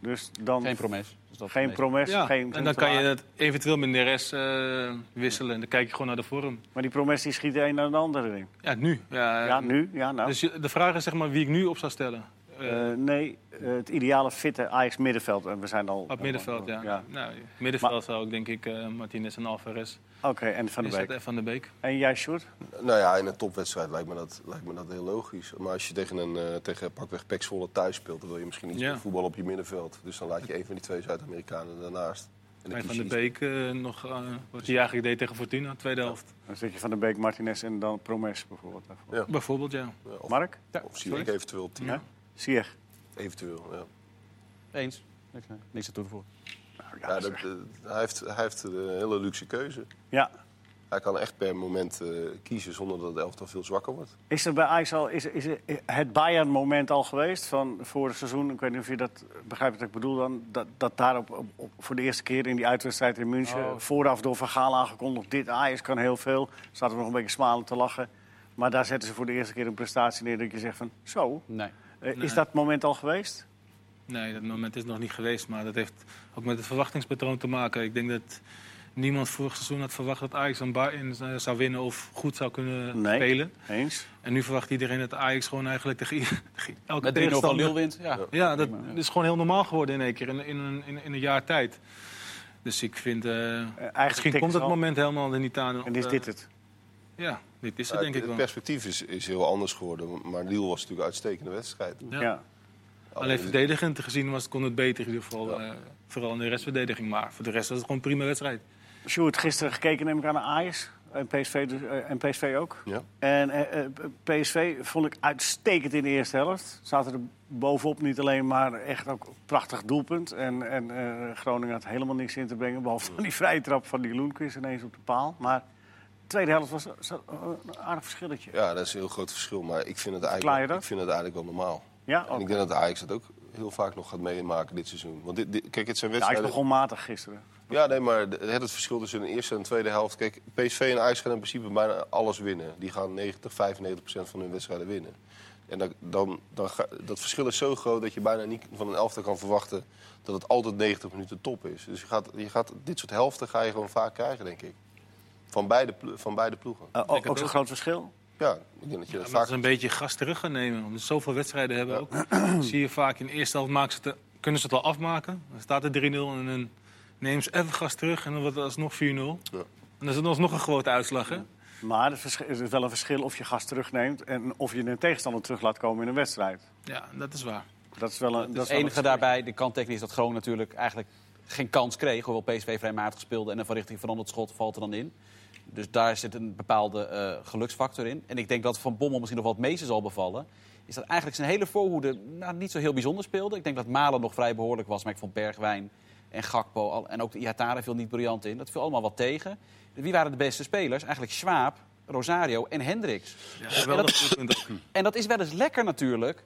Speaker 1: Dus dan
Speaker 2: Geen promes. Dus dat
Speaker 1: geen
Speaker 2: nee.
Speaker 1: promes.
Speaker 4: Ja,
Speaker 1: geen, geen
Speaker 4: en dan kan je
Speaker 1: verlaag.
Speaker 4: dat eventueel met Neres eh, wisselen. En dan kijk je gewoon naar de vorm.
Speaker 1: Maar die promes die schiet de een naar de andere in.
Speaker 4: Ja, nu. Ja,
Speaker 1: ja, nu? Ja, nou.
Speaker 4: Dus je- de vraag is zeg maar wie ik nu op zou stellen. Eh,
Speaker 1: Eh, nee, eh, het ideale fitte Ajax-middenveld. En we zijn al...
Speaker 4: op middenveld, ja. Nou, middenveld zou ik denk ik eh, Martinez en Alvarez.
Speaker 1: Oké, en Van de
Speaker 4: Is dat
Speaker 1: Beek.
Speaker 4: en Van de Beek.
Speaker 1: En jij, Sjoerd?
Speaker 3: Nou ja, in een topwedstrijd lijkt me dat, lijkt me dat heel logisch. Maar als je tegen een eh, tegen pakweg Pek Zwolle thuis speelt... dan wil je misschien niet
Speaker 4: Ja.
Speaker 3: meer voetbal op je middenveld. Dus dan laat je een van die twee Zuid-Amerikanen daarnaast. En dan
Speaker 4: En
Speaker 3: kies
Speaker 4: Van
Speaker 3: je
Speaker 4: de
Speaker 3: iets-
Speaker 4: Beek eh, nog, eh, wat hij eigenlijk deed tegen Fortuna, tweede helft.
Speaker 1: Dan zet je Van de Beek, Martinez en dan Promes bijvoorbeeld. daarvoor.
Speaker 3: Ja.
Speaker 4: Bijvoorbeeld, ja.
Speaker 3: Ja, eh, of,
Speaker 1: Mark?
Speaker 2: Oh,
Speaker 3: of zie ik
Speaker 4: sorry.
Speaker 3: eventueel op tien.
Speaker 1: Ja. Zie je.
Speaker 3: Eventueel, ja.
Speaker 2: Eens. Niks, eh, Niks aan toe te voegen.
Speaker 1: Nou,
Speaker 3: Ja, dat, eh, hij, heeft, hij heeft een hele luxe keuze.
Speaker 1: Ja.
Speaker 3: Hij kan echt per moment eh, kiezen zonder dat het elftal veel zwakker wordt.
Speaker 1: Is er bij Ajax al is, is het Bayern-moment al geweest van vorig seizoen? Ik weet niet of je dat begrijpt wat ik bedoel dan. Dat, dat daar op, op- op- voor de eerste keer in die uitwedstrijd in München...
Speaker 2: Oh.
Speaker 1: vooraf door Van Gaal aangekondigd, dit Ajax kan heel veel. Zaten we nog een beetje smalend te lachen. Maar daar zetten ze voor de eerste keer een prestatie neer dat je zegt van... Zo,
Speaker 2: Nee.
Speaker 1: eh,
Speaker 4: Nee.
Speaker 1: is dat moment al geweest?
Speaker 4: Nee, dat moment is nog niet geweest. Maar dat heeft ook met het verwachtingspatroon te maken. Ik denk dat niemand vorig seizoen had verwacht dat Ajax aan Bayern eh, zou winnen of goed zou kunnen
Speaker 1: Nee.
Speaker 4: spelen.
Speaker 1: Eens?
Speaker 4: En nu verwacht iedereen dat Ajax gewoon eigenlijk tegen, ieder- tegen elke
Speaker 2: Met 3-0 van
Speaker 4: tegenstander...
Speaker 2: Lille wint. Ja.
Speaker 4: Ja, dat is gewoon heel normaal geworden in één keer, in, in, een- in, in een jaar tijd. Dus ik vind, eh,
Speaker 1: eigenlijk
Speaker 4: misschien
Speaker 1: tikt
Speaker 4: komt
Speaker 1: ze
Speaker 4: dat
Speaker 1: al.
Speaker 4: moment helemaal er niet aan.
Speaker 1: En is
Speaker 4: Eh,
Speaker 1: dit het?
Speaker 4: Ja, dit is het
Speaker 3: Ja,
Speaker 4: denk ik
Speaker 3: het
Speaker 4: wel.
Speaker 3: perspectief is, is heel anders geworden. Maar Lille was natuurlijk een uitstekende wedstrijd.
Speaker 4: Ja.
Speaker 1: ja.
Speaker 3: Oh,
Speaker 4: Alleen verdedigend gezien was, kon het beter in ieder geval. eh, vooral in de restverdediging. Maar voor de rest was het gewoon een prima wedstrijd.
Speaker 1: Sjoerd, gisteren gekeken neem ik aan naar Ajax. En PSV, dus, eh, en PSV ook.
Speaker 3: Ja.
Speaker 1: En eh, eh, PSV vond ik uitstekend in de eerste helft. Zaten er bovenop niet alleen, maar echt ook een prachtig doelpunt. En, en eh, Groningen had helemaal niks in te brengen. Behalve dan die vrije trap van die Loenquist ineens op de paal. Maar de tweede helft was was een aardig verschilletje.
Speaker 3: Ja, dat is een heel groot verschil. Maar ik vind het
Speaker 1: Verklaar je
Speaker 3: eigenlijk,
Speaker 1: dat? Oh.
Speaker 3: ik vind het eigenlijk wel normaal.
Speaker 1: Ja,
Speaker 3: En
Speaker 1: ook.
Speaker 3: ik denk dat de Ajax dat ook heel vaak nog gaat meemaken dit seizoen. Want dit, dit- kijk, het zijn
Speaker 1: Ja, hij
Speaker 3: wedstrijden...
Speaker 1: begon matig gisteren.
Speaker 3: Ja, nee, maar de- het verschil tussen de eerste en de tweede helft... Kijk, PSV en Ajax gaan in principe bijna alles winnen. Die gaan 90, 95 procent van hun wedstrijden winnen. En dan, dan, dan ga- dat verschil is zo groot dat je bijna niet van een elftal kan verwachten... dat het altijd 90 minuten top is. Dus je gaat, je gaat, dit soort helften ga je gewoon vaak krijgen, denk ik. Van beide, plo- van beide ploegen.
Speaker 1: Eh, ook
Speaker 4: het
Speaker 1: ook zo'n
Speaker 4: ook.
Speaker 1: groot verschil.
Speaker 3: Ja, ik denk dat je
Speaker 4: Ja,
Speaker 3: dat
Speaker 4: maar
Speaker 3: vaak...
Speaker 4: dat is een beetje gas terug gaan nemen. Omdat ze zoveel wedstrijden hebben ook. Zie je vaak in de eerste helft maken ze het, eh, kunnen ze het wel afmaken. Dan staat het 3-0 en dan nemen ze even gas terug. En dan wordt het alsnog 4-0. En dan is het alsnog een grote uitslag, hè?
Speaker 1: Maar het verschil- er is wel een verschil of je gas terugneemt... en of je een tegenstander terug laat komen in een wedstrijd.
Speaker 4: Ja, dat is waar.
Speaker 1: Dat is wel een, dat is
Speaker 2: Het
Speaker 1: wel een
Speaker 2: enige daarbij, de kanttekening is dat Groningen natuurlijk eigenlijk geen kans kreeg. Hoewel PSV vrij matig speelde en een van richting veranderd schot valt er dan in. Dus daar zit een bepaalde eh, geluksfactor in. En ik denk dat Van Bommel misschien nog wat meeste zal bevallen. Is dat eigenlijk zijn hele voorhoede nou, niet zo heel bijzonder speelde. Ik denk dat Malen nog vrij behoorlijk was. Maar ik vond Bergwijn en Gakpo al- en ook de Iatare viel niet briljant in. Dat viel allemaal wat tegen. Wie waren de beste spelers? Eigenlijk Schwab, Rosario en Hendricks.
Speaker 4: Ja, geweldig doelpunt ook.
Speaker 2: En dat is wel eens lekker natuurlijk.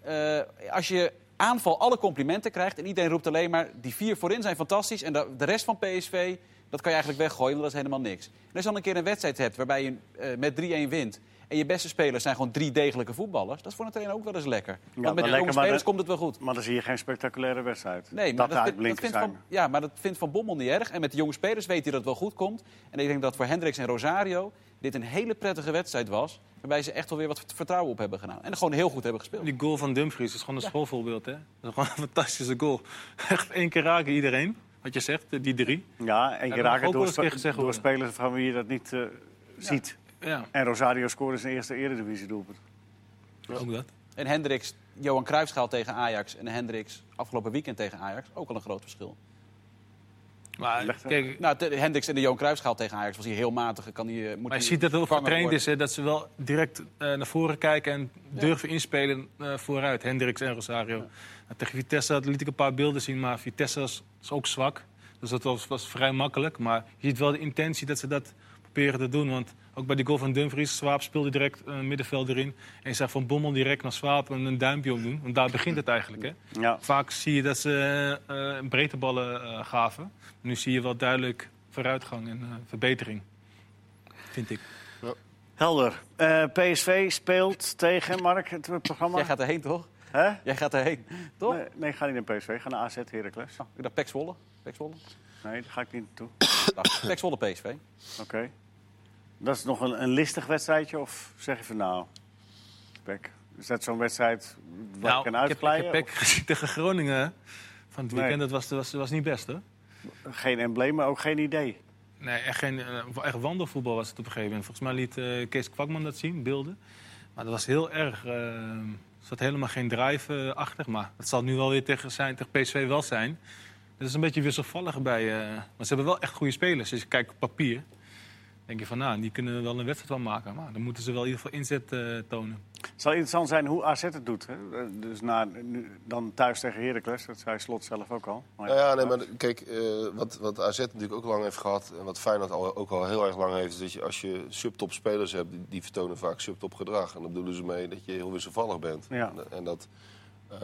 Speaker 2: eh, als je aanval alle complimenten krijgt en iedereen roept alleen maar... die vier voorin zijn fantastisch en de de rest van PSV... dat kan je eigenlijk weggooien, want dat is helemaal niks. En als je dan een keer een wedstrijd hebt waarbij je eh, met 3-1 wint... en je beste spelers zijn gewoon drie degelijke voetballers... dat is voor een trainer ook wel eens lekker.
Speaker 1: maar
Speaker 2: want met
Speaker 1: lekker,
Speaker 2: jonge
Speaker 1: maar
Speaker 2: spelers
Speaker 1: de-
Speaker 2: komt het wel goed.
Speaker 1: Maar dan zie je geen spectaculaire wedstrijd.
Speaker 2: Nee, maar
Speaker 1: dat, de
Speaker 2: dat, vind- dat
Speaker 1: uitblinkers
Speaker 2: vindt
Speaker 1: zijn.
Speaker 2: van, ja, maar dat vindt Van Bommel niet erg. En met de jonge spelers weet hij dat het wel goed komt. En ik denk dat voor Hendricks en Rosario dit een hele prettige wedstrijd was... waarbij ze echt wel weer wat vertrouwen op hebben gedaan. En gewoon heel goed hebben gespeeld.
Speaker 4: Die goal van Dumfries is gewoon een schoolvoorbeeld, hè? Dat is gewoon een fantastische goal. Echt één keer raken iedereen, wat je zegt, die drie.
Speaker 1: Ja, en je
Speaker 4: dat mag
Speaker 1: raakt het
Speaker 4: ook wel
Speaker 1: door,
Speaker 4: eens een keer gezegd
Speaker 1: door
Speaker 4: worden.
Speaker 1: spelers van wie je dat niet eh, ziet.
Speaker 4: Ja,
Speaker 1: En Rosario scoorde zijn eerste eredivisiedoelpunt.
Speaker 4: ook dat.
Speaker 2: En Hendricks, Johan Cruijffschaal tegen Ajax en Hendricks afgelopen weekend tegen Ajax, ook al een groot verschil.
Speaker 4: Maar
Speaker 1: Leg dat-
Speaker 4: kijk,
Speaker 2: Nou, te- Hendricks en de Johan Cruijffschaal tegen Ajax was hier heel matig. Kan die, eh, moet
Speaker 4: Maar je
Speaker 2: die
Speaker 4: ziet dat het ook
Speaker 2: vervangen
Speaker 4: getraind
Speaker 2: worden.
Speaker 4: is, hè, dat ze wel direct eh, naar voren kijken en durven inspelen eh, vooruit. Hendricks en Rosario. Nou, tegen Vitesse had- liet ik een paar beelden zien, maar Vitesse was, was ook zwak. Dus dat was, was vrij makkelijk. Maar je ziet wel de intentie dat ze dat proberen te doen. Want ook bij die goal van Dumfries, Swaap speelde direct een middenveld erin. En je zag van Bommel direct naar Swaap en een duimpje opdoen. Want daar begint het eigenlijk. Hè.
Speaker 1: Ja.
Speaker 4: Vaak zie je dat ze eh breedte ballen eh, gaven. Nu zie je wel duidelijk vooruitgang en eh, verbetering. Vind ik.
Speaker 1: Helder. Eh, PSV speelt tegen, Mark, het programma.
Speaker 2: Jij gaat erheen, toch?
Speaker 1: Hè?
Speaker 2: Jij gaat erheen, toch? Oh.
Speaker 1: Nee, nee, ik ga niet naar PSV. Ga naar AZ Heracles.
Speaker 2: Ik dacht Pek Zwolle. Pek Zwolle.
Speaker 1: Nee, daar ga ik niet naartoe.
Speaker 2: Dag. Pek Zwolle PSV.
Speaker 1: Oké. Dat is nog een, een listig wedstrijdje? Of zeg je van nou, Pek, is dat zo'n wedstrijd waar ik kan
Speaker 4: Nou, ik heb, ik
Speaker 1: uitglijden?
Speaker 4: heb Peck gezien tegen Groningen van het weekend.
Speaker 1: Nee.
Speaker 4: Dat was, was, was niet best, hè?
Speaker 1: Of Geen embleem, maar ook geen idee.
Speaker 4: Nee, echt, geen, eh, echt wandelvoetbal was het op een gegeven moment. Volgens mij liet eh, Kees Kwakman dat zien, beelden. Maar dat was heel erg... eh, er zat helemaal geen drive eh, achter. Maar dat zal nu wel weer tegen, zijn, tegen PSV wel zijn. Dat is een beetje wisselvallig bij... eh, maar ze hebben wel echt goede spelers. Als je kijkt op papier, denk je van... Nou, die kunnen wel een wedstrijd van maken. Maar dan moeten ze wel in ieder geval inzet eh, tonen.
Speaker 1: Het zal interessant zijn hoe AZ het doet. Hè? Eh, Dus na, nu, dan thuis tegen Heracles, dat zei Slot zelf ook al. Maar,
Speaker 3: Nou ja, nee, maar kijk, eh, wat, wat AZ natuurlijk ook lang heeft gehad... en wat Feyenoord al, ook al heel erg lang heeft... is dat je, als je subtopspelers hebt, die, die vertonen vaak subtopgedrag. En dan bedoelen ze mee dat je heel wisselvallig bent.
Speaker 1: Ja.
Speaker 3: En, en dat, eh,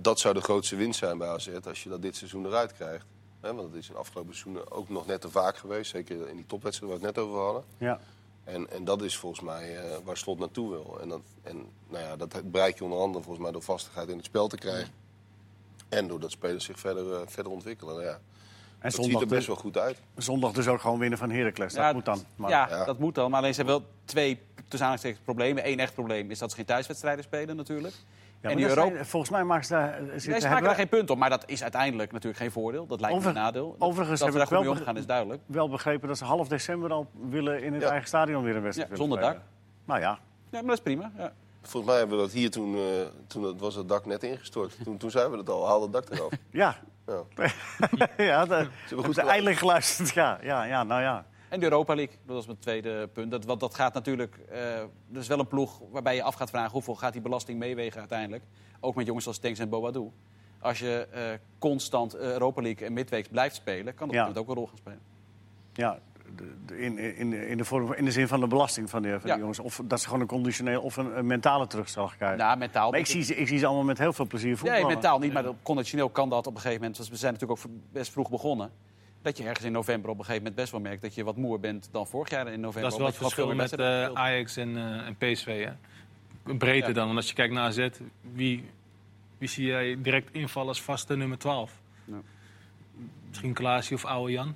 Speaker 3: dat zou de grootste winst zijn bij AZ als je dat dit seizoen eruit krijgt. Hè, want dat is in de afgelopen seizoenen ook nog net te vaak geweest. Zeker in die topwedstrijden waar we het net over hadden.
Speaker 1: ja.
Speaker 3: En, en dat is volgens mij eh, waar Slot naartoe wil. En, dat, en nou ja, dat bereik je onder andere volgens mij door vastigheid in het spel te krijgen. En doordat spelers zich verder, eh, verder ontwikkelen. Nou ja,
Speaker 1: En
Speaker 3: dat ziet
Speaker 1: zondag
Speaker 3: er best
Speaker 1: dus,
Speaker 3: wel goed uit.
Speaker 1: zondag dus ook gewoon winnen van Heracles. Dus Dat moet dan. Maar,
Speaker 2: ja,
Speaker 3: Ja.
Speaker 2: dat moet dan. Maar alleen ze hebben wel twee tussen aanhalingstekens problemen. Eén echt probleem is dat ze geen thuiswedstrijden spelen natuurlijk.
Speaker 1: Ja,
Speaker 2: en
Speaker 1: maar
Speaker 2: die
Speaker 1: dat
Speaker 2: Europa...
Speaker 1: zijn- volgens mij maken ze daar... eh,
Speaker 2: Nee, ze maken daar geen punt op, maar dat is uiteindelijk natuurlijk geen voordeel. Dat lijkt me
Speaker 1: Over-
Speaker 2: een nadeel. Dat-
Speaker 1: overigens
Speaker 2: dat
Speaker 1: heb
Speaker 2: we
Speaker 1: ik
Speaker 2: daar goed
Speaker 1: wel
Speaker 2: mee
Speaker 1: beg-
Speaker 2: omgaan is duidelijk.
Speaker 1: wel begrepen dat ze half december al willen in het
Speaker 3: Ja.
Speaker 1: eigen stadion weer een wedstrijd
Speaker 2: Ja,
Speaker 1: willen
Speaker 2: zonder
Speaker 1: spelen. Nou ja,
Speaker 2: Ja, maar dat is prima. Ja.
Speaker 3: Volgens mij hebben we dat hier toen, eh, toen dat, was het dak net ingestort. Toen, toen zeiden we dat al, haal het dak eraf.
Speaker 1: ja.
Speaker 3: Ja.
Speaker 1: ja, dat-
Speaker 3: goed
Speaker 1: hebben ze eindelijk geluisterd. Ja, ja, ja, nou ja.
Speaker 2: En de Europa League, dat is mijn tweede punt. Dat, want dat gaat natuurlijk. eh dat is wel een ploeg waarbij je af gaat vragen hoeveel gaat die belasting meewegen uiteindelijk. Ook met jongens als Tanks en Boadou. Als je eh, constant eh, Europa League en midweeks blijft spelen, kan dat
Speaker 1: Ja.
Speaker 2: op een gegeven moment ook een rol gaan spelen.
Speaker 1: Ja, de- de- in, in, in, de vorm, in de zin van de belasting van, de, van die
Speaker 2: Ja.
Speaker 1: jongens. Of dat ze gewoon een conditioneel of een, een mentale terugslag krijgen.
Speaker 2: Nou, mentaal.
Speaker 1: maar ik zie, ze, ik zie ze allemaal met heel veel plezier voetballen.
Speaker 2: Nee, mentaal niet, maar dat- conditioneel kan dat op een gegeven moment. want We zijn natuurlijk ook best vroeg begonnen. Dat je ergens in november op een gegeven moment best wel merkt dat je wat moeer bent dan vorig jaar in november.
Speaker 4: Dat is wel
Speaker 2: omdat
Speaker 4: het
Speaker 2: je wat veel
Speaker 4: verschil
Speaker 2: meer
Speaker 4: met
Speaker 2: wedstrijden
Speaker 4: eh,
Speaker 2: hebt
Speaker 4: Ajax en, eh, en PSV. Hè? Breder
Speaker 2: Ja.
Speaker 4: dan, want als je kijkt naar AZ, wie, wie zie jij direct invallen als vaste nummer 12?
Speaker 2: Ja.
Speaker 4: Misschien Klaasie of Oude Jan,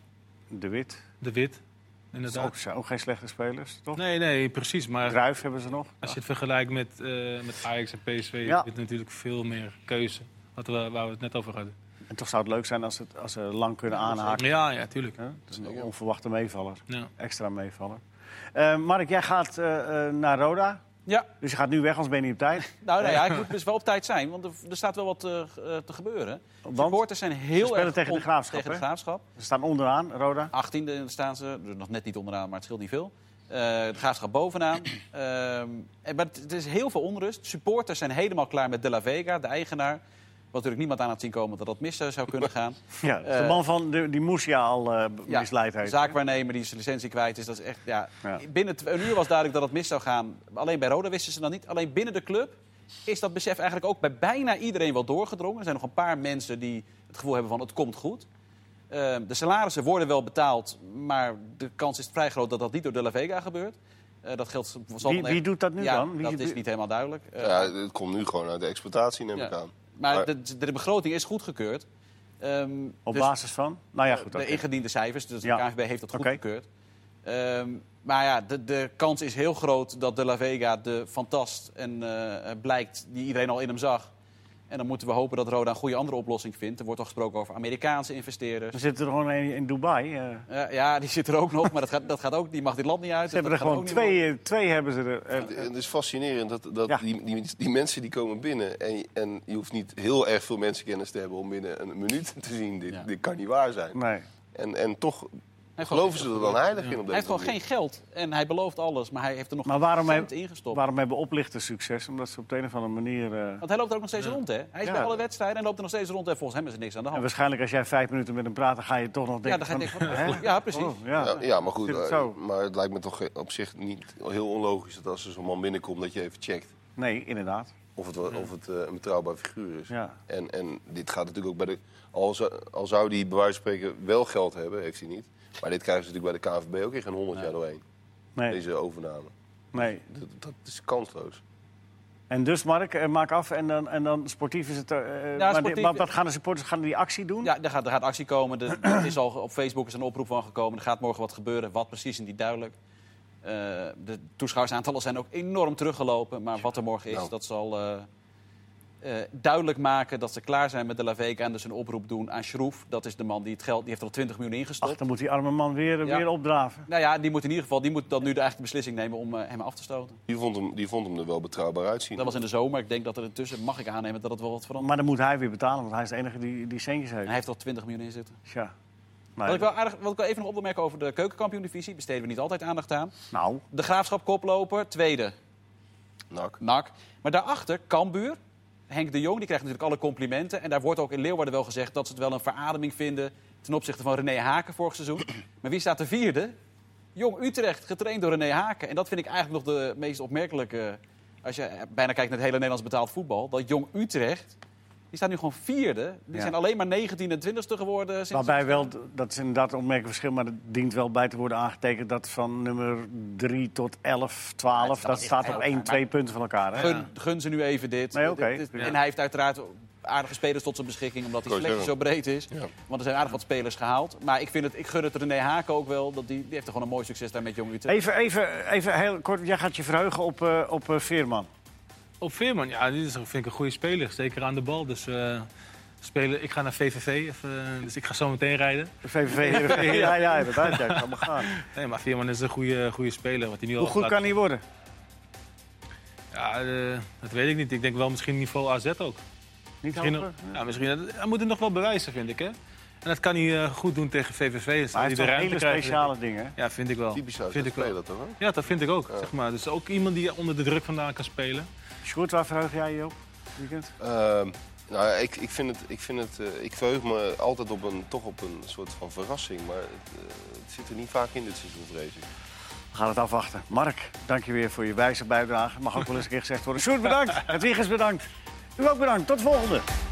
Speaker 1: De Wit.
Speaker 4: De Wit.
Speaker 1: Dat
Speaker 4: Inderdaad.
Speaker 1: ook, zijn ook geen slechte spelers, toch?
Speaker 4: Nee, nee, precies. Maar
Speaker 1: Druif hebben ze nog.
Speaker 4: als je het vergelijkt met, eh, met Ajax en PSV,
Speaker 1: Ja.
Speaker 4: heb je natuurlijk veel meer keuze. Wat we, waar we het net over hadden.
Speaker 1: En toch zou het leuk zijn als, het, als ze lang kunnen aanhaken.
Speaker 4: Ja, ja, tuurlijk.
Speaker 1: hè? Dat is een onverwachte meevaller.
Speaker 4: Ja.
Speaker 1: Extra meevaller. Eh, Mark, jij gaat eh, eh, naar Roda.
Speaker 2: gespeeld. Ja,
Speaker 1: Dus je gaat nu weg, als ben je niet op tijd.
Speaker 2: nou nee, ja, ik moet dus wel op tijd zijn, want er, er staat wel wat eh, g- eh, te gebeuren.
Speaker 1: Want?
Speaker 2: De supporters zijn heel
Speaker 1: spelen
Speaker 2: erg
Speaker 1: tegen de
Speaker 2: on-
Speaker 1: Graafschap,
Speaker 2: Tegen de
Speaker 1: hè?
Speaker 2: graafschap.
Speaker 1: Ze staan onderaan, Roda.
Speaker 2: 18e staan ze, dus nog net niet onderaan, maar het scheelt niet veel. Eh de Graafschap bovenaan. Ehm, en, maar het, het is heel veel onrust. Supporters zijn helemaal klaar met De La Vega, de eigenaar. Wat natuurlijk niemand aan had zien komen dat dat mis eh, zou kunnen gaan.
Speaker 1: Ja, dat is Dus de
Speaker 2: Eh,
Speaker 1: man van de, die Moesia al eh, b- misleid heeft.
Speaker 2: zaakwaarnemer die zijn licentie kwijt is. Dat is echt, ja.
Speaker 1: Ja.
Speaker 2: Binnen twee- een uur was duidelijk dat het mis zou gaan. Alleen bij Roda wisten ze dat niet. Alleen binnen de club is dat besef eigenlijk ook bij bijna iedereen wel doorgedrongen. Er zijn nog een paar mensen die het gevoel hebben van het komt goed. Ehm, de salarissen worden wel betaald, maar de kans is vrij groot dat dat niet door De La Vega gebeurt. Eh, dat geldt, zal
Speaker 1: Wie-
Speaker 2: dan echt-
Speaker 1: wie doet dat nu
Speaker 2: ja,
Speaker 1: dan? Wie-
Speaker 2: dat is niet helemaal duidelijk. Eh,
Speaker 3: Ja, het komt nu gewoon uit de exploitatie, neem
Speaker 2: Ja.
Speaker 3: ik aan.
Speaker 2: maar
Speaker 3: maar-
Speaker 2: de, de begroting is goedgekeurd. Ehm,
Speaker 1: Op
Speaker 2: dus-
Speaker 1: basis van? Nou ja, goed.
Speaker 2: de
Speaker 1: oké.
Speaker 2: ingediende cijfers, dus
Speaker 1: Ja.
Speaker 2: de KNVB heeft dat
Speaker 1: Oké.
Speaker 2: goedgekeurd. Ehm, maar ja, de, de kans is heel groot dat De La Vega de fantast en eh, eh, blijkt die iedereen al in hem zag. En dan moeten we hopen dat Roda een goede andere oplossing vindt. Er wordt al gesproken over Amerikaanse investeerders.
Speaker 1: We zitten er gewoon een in Dubai. eh.
Speaker 2: Ja, ja, die zit er ook nog, maar dat gaat, dat gaat ook, die mag dit land niet uit.
Speaker 1: Ze hebben er
Speaker 2: dus dat
Speaker 1: gewoon
Speaker 2: gaat ook niet
Speaker 1: twee, eh, twee hebben ze er. eh,
Speaker 3: Het- Het is fascinerend dat, dat
Speaker 1: Ja.
Speaker 3: die, die, die mensen die komen binnen... En, en je hoeft niet heel erg veel mensenkennis te hebben om binnen een minuut te zien... dit,
Speaker 2: Ja.
Speaker 3: dit kan niet waar zijn.
Speaker 1: nee.
Speaker 3: En, en toch
Speaker 2: heeft gewoon
Speaker 3: geloven ze er dan heilig in op
Speaker 2: worden. Hij heeft
Speaker 3: deze
Speaker 2: gewoon
Speaker 3: manier.
Speaker 2: geen geld en hij belooft alles, maar hij heeft er nog
Speaker 1: Maar waarom
Speaker 2: geen
Speaker 1: hij-
Speaker 2: cent ingestopt.
Speaker 1: Waarom hebben oplichters succes? Omdat ze op de een of andere manier... eh,
Speaker 2: Want hij loopt er ook nog steeds rond, hè? Hij is
Speaker 1: Ja.
Speaker 2: bij alle wedstrijden en loopt er nog steeds rond en volgens hem is er niks aan de
Speaker 1: En
Speaker 2: hand.
Speaker 1: waarschijnlijk als jij vijf minuten met hem praat, dan ga je toch nog
Speaker 2: Oh. Ja,
Speaker 1: denken
Speaker 2: dan ga je
Speaker 1: van,
Speaker 2: denken van,
Speaker 1: hè?
Speaker 2: ja, precies.
Speaker 1: Oh, ja.
Speaker 3: Ja, ja, maar goed,
Speaker 1: Zit het
Speaker 3: eh,
Speaker 1: zo?
Speaker 3: maar het lijkt me toch op zich niet heel onlogisch... dat als er zo'n man binnenkomt dat je even checkt
Speaker 1: Nee, inderdaad.
Speaker 3: of het, wel-
Speaker 2: Mm.
Speaker 3: of het eh, een betrouwbaar figuur is.
Speaker 1: Ja.
Speaker 3: En, en dit gaat natuurlijk ook bij de... Al zou, al zou die bij wijze van spreken wel geld hebben, heeft hij niet... maar dit krijgen ze natuurlijk bij de KNVB ook in geen honderd jaar doorheen.
Speaker 1: Nee,
Speaker 3: Deze overname.
Speaker 1: nee.
Speaker 3: Dat, dat is kansloos.
Speaker 1: En dus, Mark, eh, maak af en dan, en dan sportief is het... eh, maar, die-
Speaker 2: sportief-
Speaker 1: maar wat gaan de supporters gaan die actie doen?
Speaker 2: Ja, er gaat, er gaat actie komen. Er- Er is al op Facebook is een oproep van gekomen. Er gaat morgen wat gebeuren. Wat precies is niet duidelijk. Eh, de toeschouwersaantallen zijn ook enorm teruggelopen. Maar wat er morgen is,
Speaker 3: Nou.
Speaker 2: dat zal eh, eh, duidelijk maken dat ze klaar zijn met de La Vega. En dus een oproep doen aan Schroef. Dat is de man die het geld, die heeft er al 20 miljoen
Speaker 1: Ach,
Speaker 2: ingestopt.
Speaker 1: dan moet die arme man weer, eh,
Speaker 2: Ja.
Speaker 1: weer opdraven.
Speaker 2: Nou ja, die moet in ieder geval die moet dan nu de eigen beslissing nemen om eh, hem af te stoten.
Speaker 3: Die vond, hem, die vond hem er wel betrouwbaar uitzien.
Speaker 2: Dat was in de zomer. Ik denk dat er intussen, mag ik aannemen, dat het wel wat verandert.
Speaker 1: Maar dan moet hij weer betalen, want hij is de enige die, die centjes
Speaker 2: En
Speaker 1: heeft.
Speaker 2: hij heeft al 20 miljoen in zitten.
Speaker 1: Tja.
Speaker 2: Wat
Speaker 1: Nou,
Speaker 2: ik wel, aardig, wat ik wel even nog op wil merken over de keukenkampioen-divisie. Besteden we niet altijd aandacht aan.
Speaker 1: nou,
Speaker 2: De Graafschap koploper, tweede
Speaker 3: Nak.
Speaker 2: NAC. Maar daarachter Cambuur. Henk de Jong die krijgt natuurlijk alle complimenten. En daar wordt ook in Leeuwarden wel gezegd dat ze het wel een verademing vinden... ten opzichte van René Haken vorig seizoen. Maar wie staat de vierde? Jong Utrecht, getraind door René Haken. En dat vind ik eigenlijk nog de meest opmerkelijke... als je eh, bijna kijkt naar het hele Nederlands betaald voetbal... dat Jong Utrecht, die staat nu gewoon vierde. Die
Speaker 1: Ja.
Speaker 2: zijn alleen maar 19 en 20ste geworden sinds...
Speaker 1: Waarbij wel, dat is inderdaad een opmerkelijk verschil, maar het dient wel bij te worden aangetekend dat van nummer 3 tot 11, 12,
Speaker 2: Ja,
Speaker 1: dat
Speaker 2: het staat
Speaker 1: staat op
Speaker 2: echt-
Speaker 1: 1, 2 punten van elkaar. Hè?
Speaker 2: Gun, gun ze nu even dit.
Speaker 1: Nee, oké.
Speaker 2: Dit- dit-
Speaker 1: Ja.
Speaker 2: En hij heeft uiteraard aardige spelers tot zijn beschikking, omdat die
Speaker 3: Kan je
Speaker 2: selectie zo
Speaker 3: zeggen.
Speaker 2: breed is.
Speaker 3: Ja.
Speaker 2: Want er zijn aardig wat spelers gehaald. Maar ik, vind het, ik gun het René Haken ook wel. Dat die, die heeft er gewoon een mooi succes daar met Jong Utrecht.
Speaker 1: Even, even, even heel kort, jij gaat je verheugen op, eh, op eh, Veerman.
Speaker 4: Op Veerman, ja, dit is, vind ik een goede speler. Zeker aan de bal. Dus eh, spelen, ik ga naar VVV, even, eh, dus ik ga zo meteen rijden.
Speaker 1: De VVV Heerenveen. Ja, ja, inderdaad. Ja, kan maar gaan.
Speaker 4: Nee, maar Veerman is een goede, goede speler. Wat hij nu
Speaker 1: Hoe
Speaker 4: al
Speaker 1: goed
Speaker 4: laat-
Speaker 1: kan hij worden?
Speaker 4: Ja, eh, dat weet ik niet. Ik denk wel misschien niveau AZ ook.
Speaker 1: Niet
Speaker 4: Misschien,
Speaker 1: hoger?
Speaker 4: ja, misschien, hij moet het nog wel bewijzen, vind ik. Hè? En dat kan hij eh, goed doen tegen VVV. Dus
Speaker 1: Maar hij heeft
Speaker 4: die
Speaker 1: toch
Speaker 4: de ruimte
Speaker 1: hele
Speaker 4: krijgt.
Speaker 1: speciale dingen.
Speaker 4: Ja, vind ik wel.
Speaker 3: Typisch
Speaker 4: vind ik wel.
Speaker 3: speler toch? Hè?
Speaker 4: Ja, dat vind ik ook. Zeg maar. Dus ook iemand die onder de druk vandaan kan spelen.
Speaker 1: Sjoerd, waar verheug jij je op? Weekend?
Speaker 3: Ehm, nou, ja, ik, ik vind het, ik, vind het, eh, ik verheug me altijd op een, toch op een soort van verrassing. Maar het, eh, het zit er niet vaak in dit seizoen, vrees ik.
Speaker 1: We gaan het afwachten. Mark, dank je weer voor je wijze bijdrage. Mag ook wel eens een keer gezegd worden. Sjoerd, bedankt. Hedwiges, bedankt. U ook bedankt. Tot volgende.